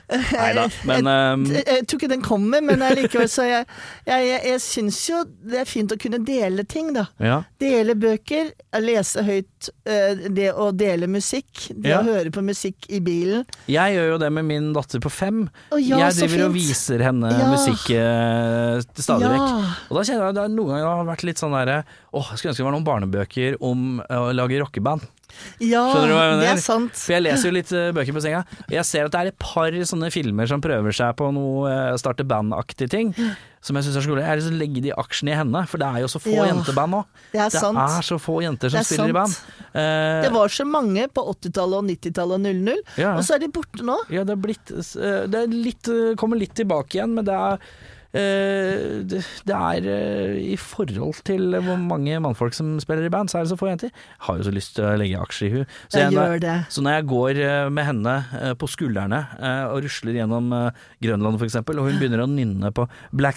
Nei da, men eh, Jeg jeg tror ikke den kommer, men allikevel så jeg, jeg, jeg, jeg syns jo det er fint å kunne dele ting, da. eh, ja. Dele bøker, lese høyt, eh, det å dele musikk, det Ja. å høre på musikk i bilen. Jeg gjør jo det med min datter på fem. Å, ja, jeg så driver og fint. viser henne Ja. musikk eh, stadig Ja. vekk. Og da kjenner jeg at det er noen ganger det har vært litt sånn derre Åh, jeg skulle ønske det var noen barnebøker om eh, å lage rockeband. Ja, Skjønner du hva jeg mener? det er sant. For jeg leser jo litt eh, bøker på senga, og jeg ser at det er et par sånne filmer som prøver seg på noe eh, starte band-aktig ting, som jeg syns er så kule. Jeg har lyst til å legge de aksjene i henne, for det er jo så få Ja. jenteband nå. Det er sant. er så få jenter som Det er spiller i band. sant. Eh, Det var så mange på 80-tallet og 90-tallet og 00, Ja. og så er de borte nå. ja, det er blitt eh, Det er litt, eh, kommer litt tilbake igjen, men det er eh, det det er eh, i forhold til hvor mange mannfolk som spiller i band, så er det så få jenter. Jeg har jo så lyst til å legge aksjer i hun. Så Jeg jeg- gjør det. Så når jeg går eh, med henne eh, på skuldrene eh, og rusler gjennom eh, Grønland f.eks., og hun begynner å nynne på Black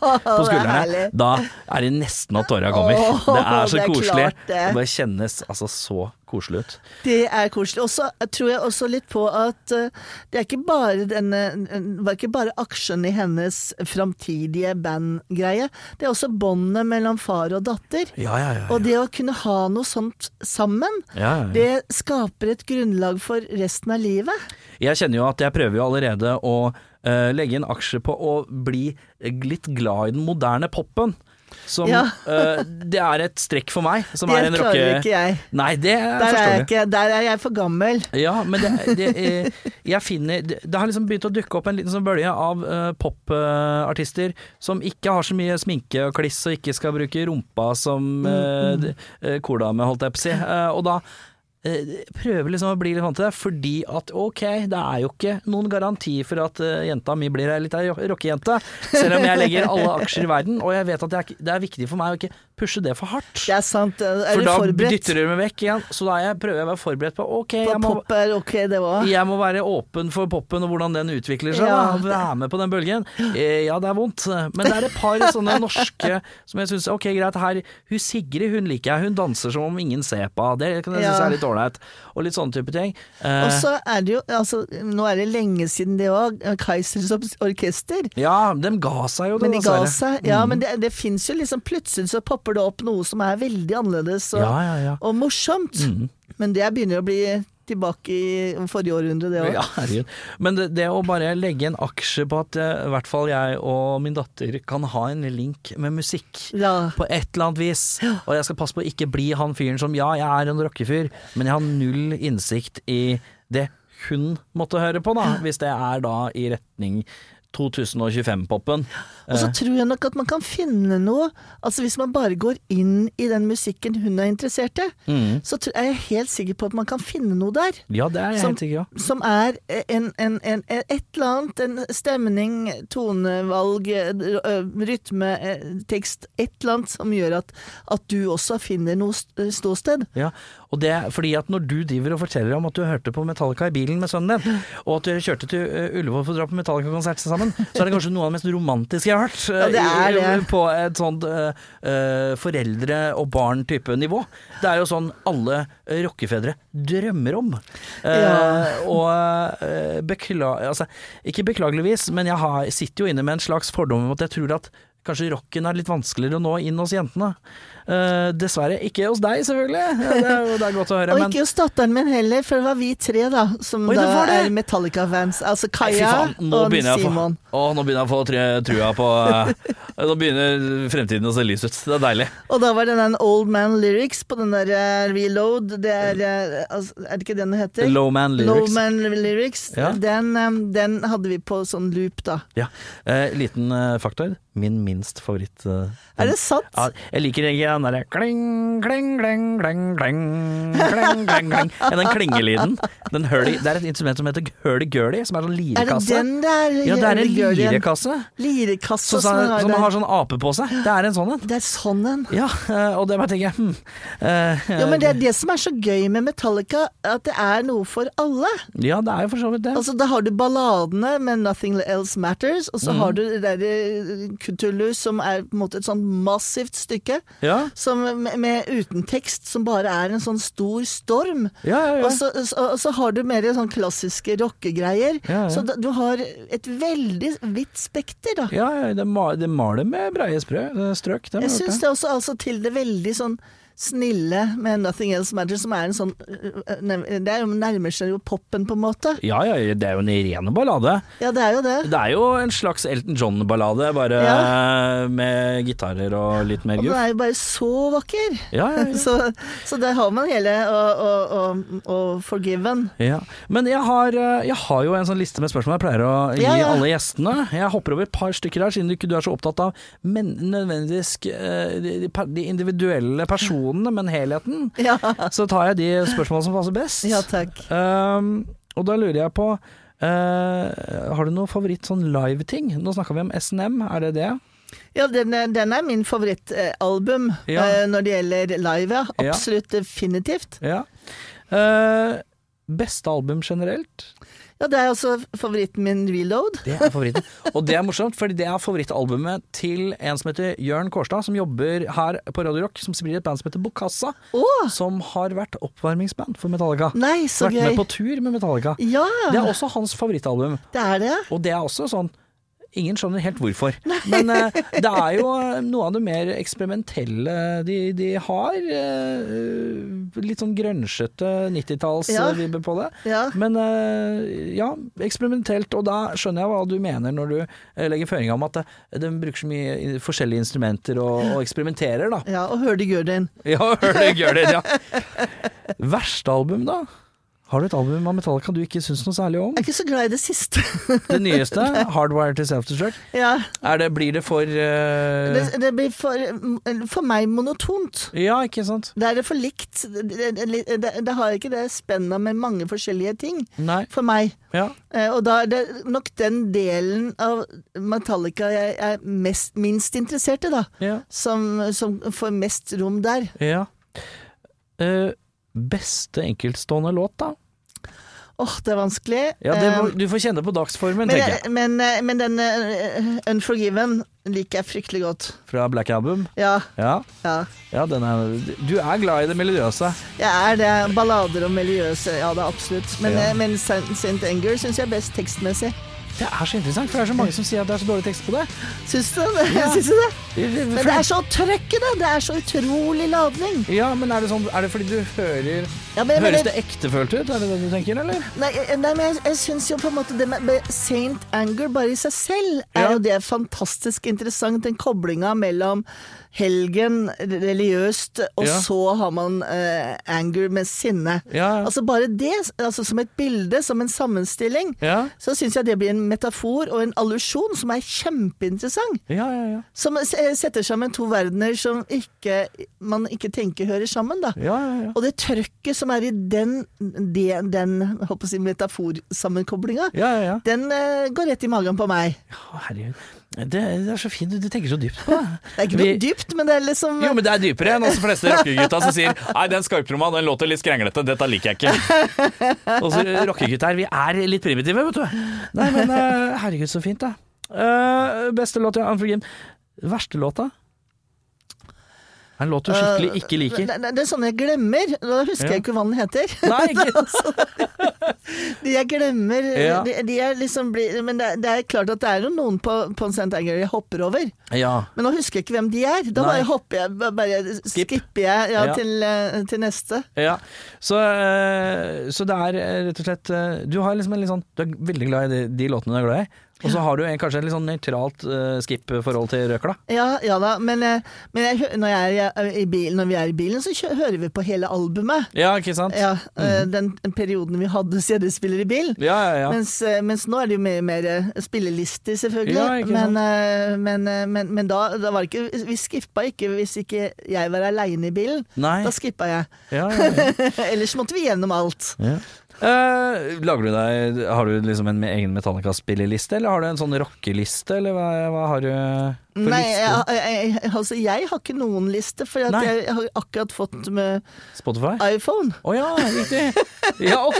på det er skuldrene, herlig. da er det nesten at tåra kommer. Åh, det er så det er koselig. klart det. Det bare kjennes altså så koselig ut. Det er koselig. Og så tror jeg også litt på at eh, det er ikke bare denne Det var ikke bare aksjen i hennes framtidige bandgreie. Det er også båndet mellom far og datter. Ja, ja, ja. Og det å kunne ha noe sånt sammen, ja, ja, ja. det skaper et grunnlag for resten av livet. Jeg kjenner jo at jeg prøver jo allerede å eh, legge en aksje på å bli litt glad i den moderne popen. Som Ja. eh, Det er et strekk for meg, som Det er en rocke... klarer ikke jeg. Nei, det Der forstår er, du. jeg ikke, der er jeg for gammel. Ja, men det, det, eh, jeg finner, det, det har liksom begynt å dukke opp en liten sånn bølge av popartister som ikke har så mye sminke og kliss og ikke skal bruke rumpa som eh, Mm. d- eh, kordame, holdt jeg på å si. Eh, og da eh, prøver liksom å bli litt vant til det, fordi at ok, det er jo ikke noen garanti for at eh, jenta mi blir ei lita jo- rockejente, selv om jeg legger alle aksjer i verden, og jeg vet at det er, ikke- det er viktig for meg å ikke pushe det for hardt. Det er sant. Er For du da forberedt? dytter du meg vekk igjen, så da er jeg, prøver jeg å være forberedt på ok, På jeg må pop er ok, det òg. jeg må være åpen for poppen og hvordan den utvikler seg. Ah. Ja, da. Være med på den bølgen. Eh, Ja, det er vondt, men det er et par sånne norske som jeg syns Ok, greit, her Hun Sigrid, hun liker jeg. Hun danser som om ingen ser på. Det kan jeg synes Ja. er litt ålreit. Og litt sånne type ting. Eh, Og så er det jo altså, Nå er det lenge siden det òg. Kaizers orkester. Eh, ja, dem ga seg jo, Men de ga dessverre. seg. Ja, Mm. men det, det fins jo liksom Plutselig så popper det opp noe som er veldig annerledes og, Ja, ja, Mm. ja. og morsomt. Men det begynner å bli tilbake i forrige århundre, det òg. Ja, herregud. Men det, det å bare legge en aksje på at eh, i hvert fall jeg og min datter kan ha en link med musikk Ja. på et eller annet vis, og jeg skal passe på å ikke bli han fyren som ja, jeg er en rockefyr, men jeg har null innsikt i det hun måtte høre på, da, hvis det er da i retning 2025-popen. Eh, Og så tror jeg nok at man kan finne noe Altså Hvis man bare går inn i den musikken hun er interessert i, Mm. så tr- er jeg helt sikker på at man kan finne noe der. Ja, det er jeg Som, helt sikker på. som er en, en, en, et eller annet, en stemning, tonevalg, eh, eh, rytme, eh, tekst, et eller annet som gjør at, at du også finner noe st- eh, ståsted. Ja, og det er fordi at når du driver og forteller om at du hørte på Metallica i bilen med sønnen din, og at dere kjørte til eh, Ullevål for å dra på Metallica-konsert sammen, så er det kanskje noe av det mest romantiske jeg har hørt. eh, Ja, det er i- det. På et sånt eh, eh, foreldre og barn-type nivå. Det er jo sånn alle eh, rockefedre drømmer om. Eh, Ja. Og eh, bekla altså, ikke beklageligvis, men jeg har, sitter jo inne med en slags fordom om at jeg tror at Kanskje rocken er litt vanskeligere å nå inn hos jentene. Eh, dessverre ikke hos deg, selvfølgelig. Ja, det, er jo, det er godt å høre. Og men ikke hos datteren min heller, for det var vi tre da som Oi, det da var det. er Metallica-fans. Altså Nei, fy Kaja faen, nå og begynner jeg å få, Simon. å, nå begynner jeg å få tre- trua på eh, Nå begynner fremtiden å se lys ut. Det er deilig. Og da var det den Old Man Lyrics på den der eh, Reload. Det er, eh, altså, er det ikke den det heter? Low man lyrics. Low Man Lyrics. Ja. Den, eh, den hadde vi på sånn loop, da. Ja. Eh, liten eh, faktor. Min minst favoritt eh, Er det sant? Ja, jeg liker ikke den derre kling, kling, kling, kling, kling, kling, kling, kling. Ja, den klingelyden. Den hurdy, det er et instrument som heter hurdy-gurdy, som er sånn Er det lirekasse. den der? ja, det er en gjør det igjen? lirekasse Lirekasse som, som, sa- har som der. har sånn ape på seg. Det er en sånn en. Det er sånn en. Ja, eh, og det bare tenker jeg hm. eh, Jo, men det er det som er så gøy med Metallica, at det er noe for alle. Ja, det er jo for så vidt det. Altså, da har du balladene med 'Nothing Else Matters', og så Mhm. har du det derre Kutulu, som er på en måte et sånn massivt stykke. Ja, Som med, med uten tekst, som bare er en sånn stor storm. ja, ja. ja. Og så, så, og så har du mer sånn klassiske rockegreier. Ja, ja. Så da, du har et veldig vidt spekter, da. Ja, ja, det ma- det maler med breie sprø, eh, strøk. Det har Jeg jeg hørt, syns ja. det også altså, til det veldig sånn snille med 'Nothing Else Matters', som er en sånn øh, øh, nem- Det er jo nærmer seg jo popen, på en måte. Ja, ja, ja, det er jo en ren ballade. Ja, det er jo det. Det er jo en slags Elton John-ballade, bare eh, med gitarer og litt mer Og den guff. er jo bare så vakker. Ja, ja, ja. Så, så der har man hele og, og, og, og Forgiven. Ja. Men jeg har, eh, jeg har jo en sånn liste med spørsmål jeg pleier å gi Ja, ja. alle gjestene. Jeg hopper over et par stykker her, siden du ikke du er så opptatt av men, nødvendigvis eh, de, de, de individuelle personene, men helheten. Ja, Så tar jeg de spørsmålene som passer best. ja takk. Um, og da lurer jeg på eh, Har du noe favoritt sånn live-ting? Nå snakka vi om SNM, er det det? Ja, den, er- den er min favorittalbum Ja. eh, når det gjelder live. Ja. Ja. Absolutt definitivt. Ja. Eh, beste album generelt? Ja, det er også favoritten min, Reload. Det er favoritten. Og det er morsomt, fordi det er favorittalbumet til en som heter Jørn Kårstad, som jobber her på Radio Rock, som spiller i et band som heter Bokassa, Å! som har vært oppvarmingsband for Metallica. Nei, Mm, så vært gøy. med på tur med Metallica. Ja, Det er også hans favorittalbum. det er det. Og det er også sånn Ingen skjønner helt hvorfor. Men eh, det er jo eh, noe av det mer eksperimentelle de, de har. eh, litt sånn grønsjete 90-talls-vibber Ja. på det. Ja. Men eh, ja, eksperimentelt. Og da skjønner jeg hva du mener når du eh, legger føringa om at eh, de bruker så mye i- forskjellige instrumenter og, og eksperimenterer, da. ja og Hør de Gurdin. Ja, hør det, gjør det, ja. Verste album, da? Har du et album av Metallica du ikke syns noe særlig om? Jeg er ikke så glad i det siste. Det nyeste, 'Hardwire to Self-Destruct'. ja. Er det, blir det for eh, det, det blir for, for meg monotont. Ja, ikke sant? Det er det for likt. Det, det, det, det har ikke det spennet med mange forskjellige ting Nei. for meg. Ja. Eh, Og da er det nok den delen av Metallica jeg er mest, minst interessert i, da. Ja. Som, som får mest rom der. ja. Eh, beste enkeltstående låt, da? Åh, det er vanskelig. Ja, det må, Eh, du får kjenne på dagsformen, men, tenker jeg. jeg- men, eh, men den eh, Unforgiven liker jeg fryktelig godt. Fra Black Album. Ja, Ja. ja. ja, den er Du er glad i det melodiøse. Jeg er det. Ballader og miljøse, ja det er absolutt. Men, Ja. eh, men St. Anger syns jeg er best tekstmessig. Det er så interessant, for det er så mange som sier at det er så dårlig tekst på det. Syns du det? Syns du det? Men det For- er så trøkk i det! Det er så utrolig ladning. Ja, men er det, sånn, er det fordi du hører Ja, men, men, Høres det ektefølt ut? Er det det du tenker, eller? nei, eh, nei, men jeg, jeg syns jo på en måte det med med Saint Anger bare i seg selv Ja. er jo det fantastisk interessant. Den koblinga mellom helgen, religiøst, og Ja. så har man eh, anger med sinne. Ja. Altså bare det, altså som et bilde, som en sammenstilling. Ja. så syns jeg det blir en metafor og en allusjon som er kjempeinteressant. Ja, ja, ja. Som s- eh, setter sammen to verdener som ikke, man ikke tenker hører sammen, da. ja, ja, ja. Og det trøkket som er i den, den, den jeg håper å si, metaforsammenkoblinga, ja, ja, ja. den eh, går rett i magen på meg. Å, Herregud. Det, det er så fint, du, du tenker så dypt på det. Det er ikke Vi- noe dypt, men det er liksom Jo, men det er dypere enn oss fleste rockegutta som sier Nei, den skarptromma, den låter litt skrenglete, dette liker jeg ikke. Og så rockegutter, vi er litt primitive, vet du. Nei, men eh, herregud, så fint, da. Eh, beste låta, Unforgiven. Verste låta? er en låt du skikkelig ikke liker. Det, det, det er sånne jeg glemmer. Da husker Ja. jeg ikke hva den heter. Altså, Nei, ikke. De jeg glemmer Ja. de, de er liksom blir- Men det, det er klart at det er jo noen på, på St. Anger jeg hopper over. Ja. Men nå husker jeg ikke hvem de er. Da Nei. bare hopper jeg, ba- bare skipper jeg ja, Ja. Til, eh, til neste. Ja, så, eh, så det er eh, rett og slett eh, Du, har liksom en litt sånn, du er veldig glad i de, de låtene du er glad i, og så har du en, kanskje et litt sånn nøytralt eh, skip-forhold til røkla. Ja, ja da, men, eh, men jeg, hø- når, jeg er eh, i bilen, når vi er i bilen, så kjø- hører vi på hele albumet. Ja, ikke sant? Ja, Ja, eh, Den perioden vi hadde CD-spiller i bil. ja, Mhm. ja. Mens, eh, mens nå er det jo mer, mer eh, spillelister, selvfølgelig. Ja, ikke sant. men eh, men, eh, men, men da, da var det ikke Vi skippa ikke hvis ikke jeg var aleine i bilen. Nei. Da skippa jeg. ja, ja, ja. Ellers måtte vi gjennom alt. Eh, lager du deg Har du liksom en med egen Metallica-spilleliste, eller har du en sånn rockeliste, eller hva, hva har du for Nei, jeg, liste? jeg, jeg- altså jeg har ikke noen liste, for at Nei. jeg har akkurat fått med Spotify? iPhone. Å ja, riktig. Ja, ok.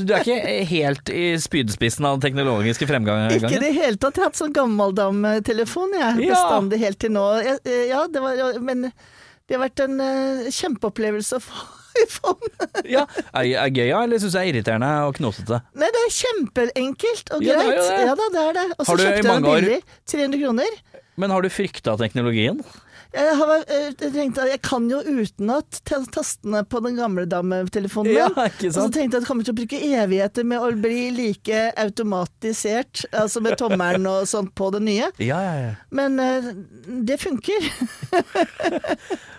Så du er ikke helt i spydspissen av den teknologiske fremgangen? Ikke i det hele tatt. Jeg har hatt sånn gammeldamtelefon jeg, Ja. bestandig helt til nå. Jeg, eh, ja, det var, men det har vært en eh, kjempeopplevelse å få iPhone. Ja, er, er gøy, ja, eller syns jeg er irriterende og knotete? Nei, det er kjempeenkelt og greit. Ja, det er jo det. Ja da, det er det. Og Har så du i kjøpte jeg den mange år- billig. 300 kroner. Men har du frykta teknologien? Jeg, har, eh, tenkte at jeg kan jo utenat ta- tastene på den gamle dammetelefonen min. Ja, ikke Og så sant? tenkte jeg at jeg kommer til å bruke evigheter med å bli like automatisert, altså med tommelen og sånt på det nye. Ja, ja, ja. Men eh, det funker.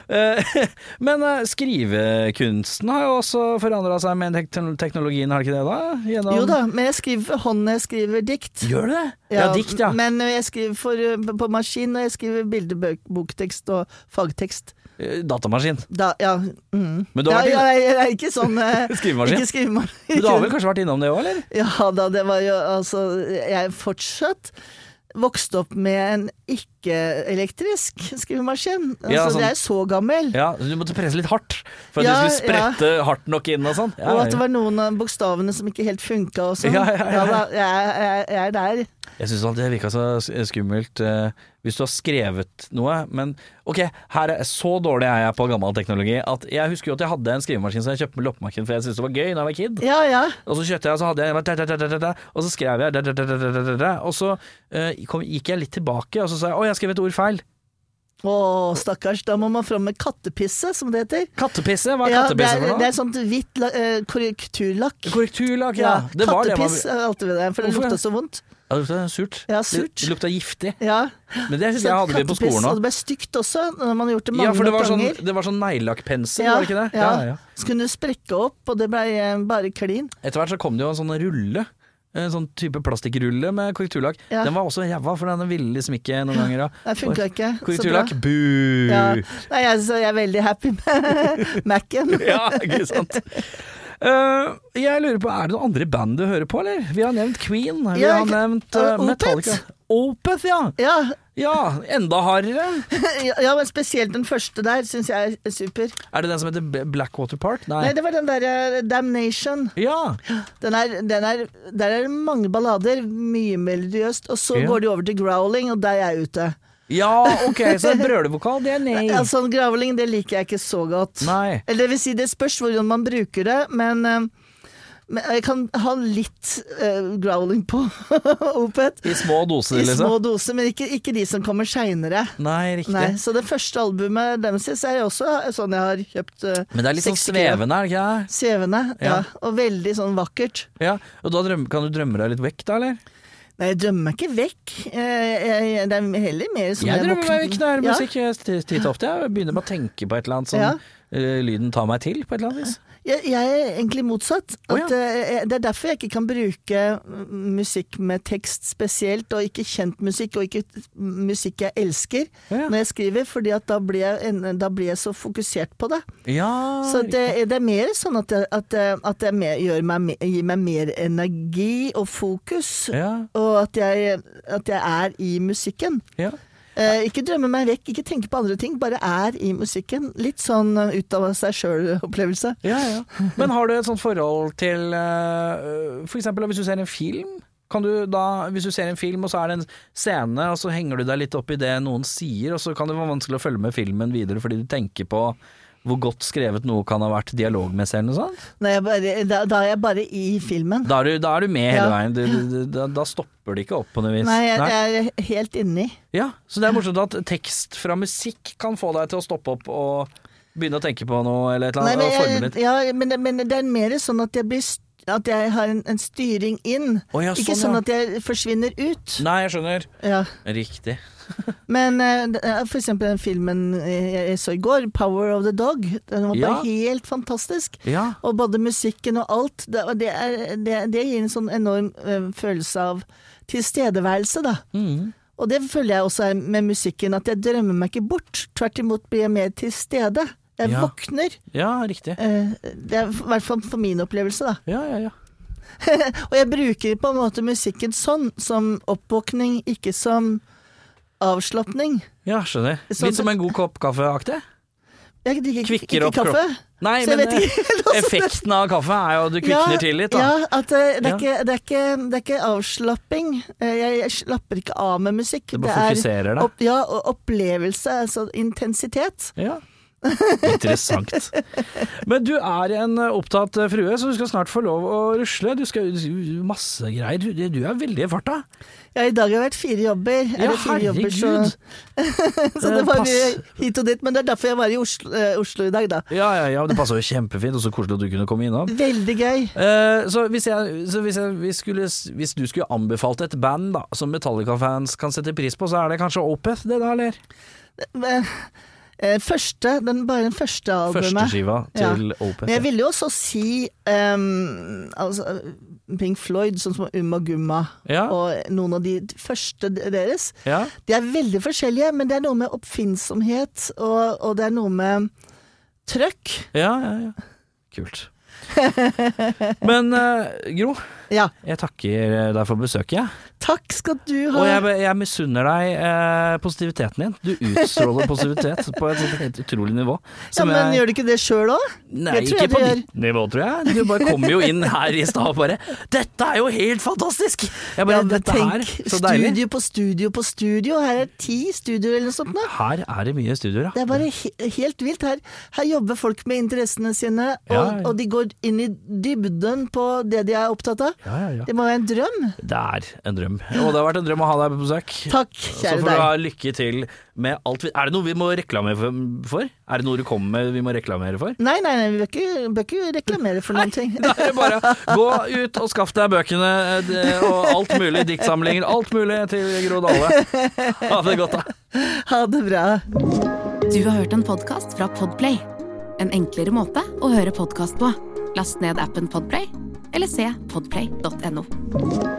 Eh, Men eh, skrivekunsten har jo også forandra seg med tek teknologien, har det ikke det? da? Gjennom Jo da, men jeg skriver for hånd når jeg skriver dikt. Gjør du det? Ja, dikt, ja. Men eh, jeg skriver for, eh, på maskin, og jeg skriver bildebok, boktekst og fagtekst. Eh, Datamaskin. Da, ja. Mm. Men du har vært ja, inne- ja, jeg er ikke sånn eh, Skrivemaskin. Ikke skrivemaskin. Men du har vel kanskje vært innom det òg, eller? Ja da, det var jo altså Jeg fortsatt vokste opp med en ikke-elektrisk skrivemaskin. Altså, Ja, sånn- Jeg er så gammel. Ja, så Du måtte presse litt hardt for at Ja, du skulle sprette hardt nok inn og sånn? Ja, Og at det ja. var noen av bokstavene som ikke helt funka og sånn. Ja, ja, ja. da, jeg, jeg, jeg er der. Jeg syns det virka så skummelt eh, hvis du har skrevet noe, men ok, her er så dårlig er jeg på gammel teknologi at jeg husker jo at jeg hadde en skrivemaskin som jeg kjøpte med loppemarked for jeg syntes det var gøy da jeg var kid. Ja ja. Og så kjøpte jeg, og så hadde jeg bare tæ, tæ, tæ, tæ, tæ, tæ, Og så skrev jeg tæ, tæ, tæ, tæ, tæ, tæ, tæ, Og så eh, kom, gikk jeg litt tilbake, og så sa jeg å, jeg skrev et ord feil. Å, stakkars. Da må man fram med kattepisse, som det heter. Kattepisse? Hva er Ja, det, kattepisse er, for det noe? er sånt hvitt la- eh, korrekturlakk. Korrekturlak, ja. Ja, Det var det man Kattepiss er alltid ved det, for det Hvorfor? lukta så vondt. Ja, Det lukta surt. Ja, surt. Det lukta giftig. Ja. Men det synes jeg hadde vi på Kattepiss, skolen Og òg. det ble stygt også, når man har gjort det mange Ja, for det var sånn, ganger. det var sånn neglelakkpensel, Ja, var det ikke det? ja. ja. Så kunne du sprekke opp, og det blei eh, bare klin. Etter hvert så kom det jo en sånn rulle. En sånn type plastikkrulle med korrekturlakk. Ja. Den var også ræva, for den ville liksom ikke noen ganger. da. Det For- funka ikke. så bra. Korrekturlakk, bu! Ja. Nei, jeg, så jeg er veldig happy med Mac-en. Ja, ikke sant. Eh, jeg lurer på, Er det noen andre band du hører på, eller? Vi har nevnt Queen. Vi Ja, har ikke- nevnt eh, Opeth. Metallica. Opeth, ja. Ja, ja! Enda hardere. ja, men spesielt den første der syns jeg er super. Er det den som heter B- Blackwater Park? Nei. Nei, det var den derre Damnation. Ja. Den er, den er, der er det mange ballader, mye melodiøst, og så Ja. går de over til growling, og der er jeg ute. ja, ok, så en brølevokal, det er nei. Ja, sånn growling, det liker jeg ikke så godt. Nei. Eller det vil si, det spørs hvordan man bruker det, men, eh, men jeg kan ha litt eh, growling på Opet. I små doser, I små liksom? doser, men ikke, ikke de som kommer seinere. Nei, riktig. Så det første albumet deres er jo også sånn jeg har kjøpt. eh, Men det er litt sånn 60 kilo. svevende, er det ikke det? Svevende, ja. Ja. Og veldig sånn vakkert. Ja, og da drøm, Kan du drømme deg litt vekk, da, eller? Nei, jeg drømmer meg ikke vekk. Eh, jeg, det er heller mer sånn Jeg drømmer meg våkner- vekk når Ja. musikk eh, sti- titt og ofte. Jeg begynner bare å tenke på et eller annet som Ja. eh, lyden tar meg til, på et eller annet vis. Jeg, jeg er egentlig motsatt. At, Å, ja. eh, det er derfor jeg ikke kan bruke mm, musikk med tekst spesielt, og ikke kjent musikk, og ikke t- musikk jeg elsker, Ja, ja. når jeg skriver, fordi at da blir jeg, en- da blir jeg så fokusert på det. Ja, Så det, det er mer sånn at, jeg, at, jeg- at jeg mer, gjør meg, me- gir meg mer energi og fokus, ja, og at jeg, at jeg er i musikken. ja. Eh, ikke drømme meg vekk, ikke tenke på andre ting, bare er i musikken. Litt sånn eh, ut av seg sjøl-opplevelse. Ja, ja. Men har du et sånt forhold til eh, for eksempel hvis du ser en film? Kan du da, hvis du ser en film og så er det en scene, og så henger du deg litt opp i det noen sier, og så kan det være vanskelig å følge med filmen videre fordi du tenker på hvor godt skrevet noe kan ha vært dialogmessig eller noe sånt? Når jeg bare, da, da er jeg bare i filmen. sånn? Da er du, da er du med hele Ja. veien. Du, du, du, da, da stopper det ikke opp på noe vis. Nei, jeg, jeg er helt inni. Ja, så det er morsomt at tekst fra musikk kan få deg til å stoppe opp og begynne å tenke på noe eller et eller Nei, annet. men, og forme jeg, litt. ja, men, det- men det er mer sånn at jeg blir st- at jeg har en, en styring inn, Å, ja, ikke sånn sånn, ja. at jeg forsvinner ut. Nei, jeg skjønner. Ja. Riktig. Men eh, det er for eksempel den filmen jeg jeg så i går, 'Power of the Dog', den var Ja. bare helt fantastisk. Ja. Og både musikken og alt. Det, og det, er, det, det gir en sånn enorm eh, følelse av tilstedeværelse, da. Mm. Og det føler jeg også er med musikken, at jeg drømmer meg ikke bort. Tvert imot blir jeg mer til stede. Jeg Ja. våkner. Ja, riktig. Eh, Det er i hvert fall for min opplevelse, da. Ja, ja, ja. Og jeg bruker på en måte musikken sånn, som oppvåkning, ikke som avslapning. Ja, skjønner. Sånn- Litt som en god kopp kaffe-aktig. Jeg drikker ikke, Kvikker ikke opp kaffe. Nei, Så jeg men vet ikke helt eh, effekten av kaffe er jo at du kvikner til litt, da. Ja, at eh, det, Ja. er ikke, det, er ikke, det er ikke avslapping. Eh, Jeg, jeg slapper ikke av med musikk. Du bare fokuserer er deg. opp, ja, og opplevelse, altså intensitet. Ja. Interessant. Men du er en eh, opptatt eh, frue, så du skal snart få lov å rusle. Du skal du- masse greier. Du, du er veldig i farta. Ja, I dag har jeg vært fire jobber. Ja, Eller fire jobber, så, herregud. Eh, så det var Pass. mye hit og dit. Men det er derfor jeg var i Oslo, eh, Oslo i dag, da. Ja, ja, ja, det passer jo kjempefint, og så koselig at du kunne komme innom. Veldig gøy. Eh, så hvis, jeg, så hvis, jeg, hvis, skulle, hvis du skulle anbefalt et band da, som Metallica-fans kan sette pris på, så er det kanskje Opeth det da, eller? Eh, eh, Første, den, bare den første albumet. Førsteskiva til Opeth. Men jeg ja. ville jo også si ehm, altså, Pink Floyd, sånn som Umma Gumma, Ja. og noen av de første deres. Ja. De er veldig forskjellige, men det er noe med oppfinnsomhet, og, og det er noe med trøkk. ja, ja, ja. Kult. Men eh, Gro, Ja. jeg takker eh, deg for besøket, jeg. Takk skal du ha. Og jeg, jeg misunner deg eh, positiviteten din. Du utstråler positivitet på et sånt helt utrolig nivå. ja, som men jeg- gjør du ikke det sjøl òg? Nei, Det tror ikke jeg på du gjør. ditt nivå, tror jeg. Du bare kom jo inn her i stad og bare 'Dette er jo helt fantastisk!' Jeg Ja, bare, men dette tenk, her, så deilig. studio på studio på studio. Her er ti studioer eller noe sånt. nå. Her er det mye studioer, Det er bare he helt vilt. Her, her jobber folk med interessene sine, og, Ja, ja. og de går inn i dybden på det de er opptatt av. Ja, ja, ja. Det må være en drøm. Det er en drøm. Og det har vært en drøm å ha deg på besøk. Takk, Så kjære får du ha deg. lykke til med alt vi Er det noe vi må reklamere for- for? Er det noe du kommer med vi må reklamere for? Nei, nei, nei, vi bør ikke, bør ikke reklamere for noen ting. Det er bare gå ut og skaff deg bøkene eh, og alt mulig, diktsamlinger, alt mulig til Gro Dale. Ha det godt, da. Ha det bra. Du har hørt en podcast fra Podplay. En enklere måte å høre podcast på. Last ned appen Podplay, eller se podplay.no.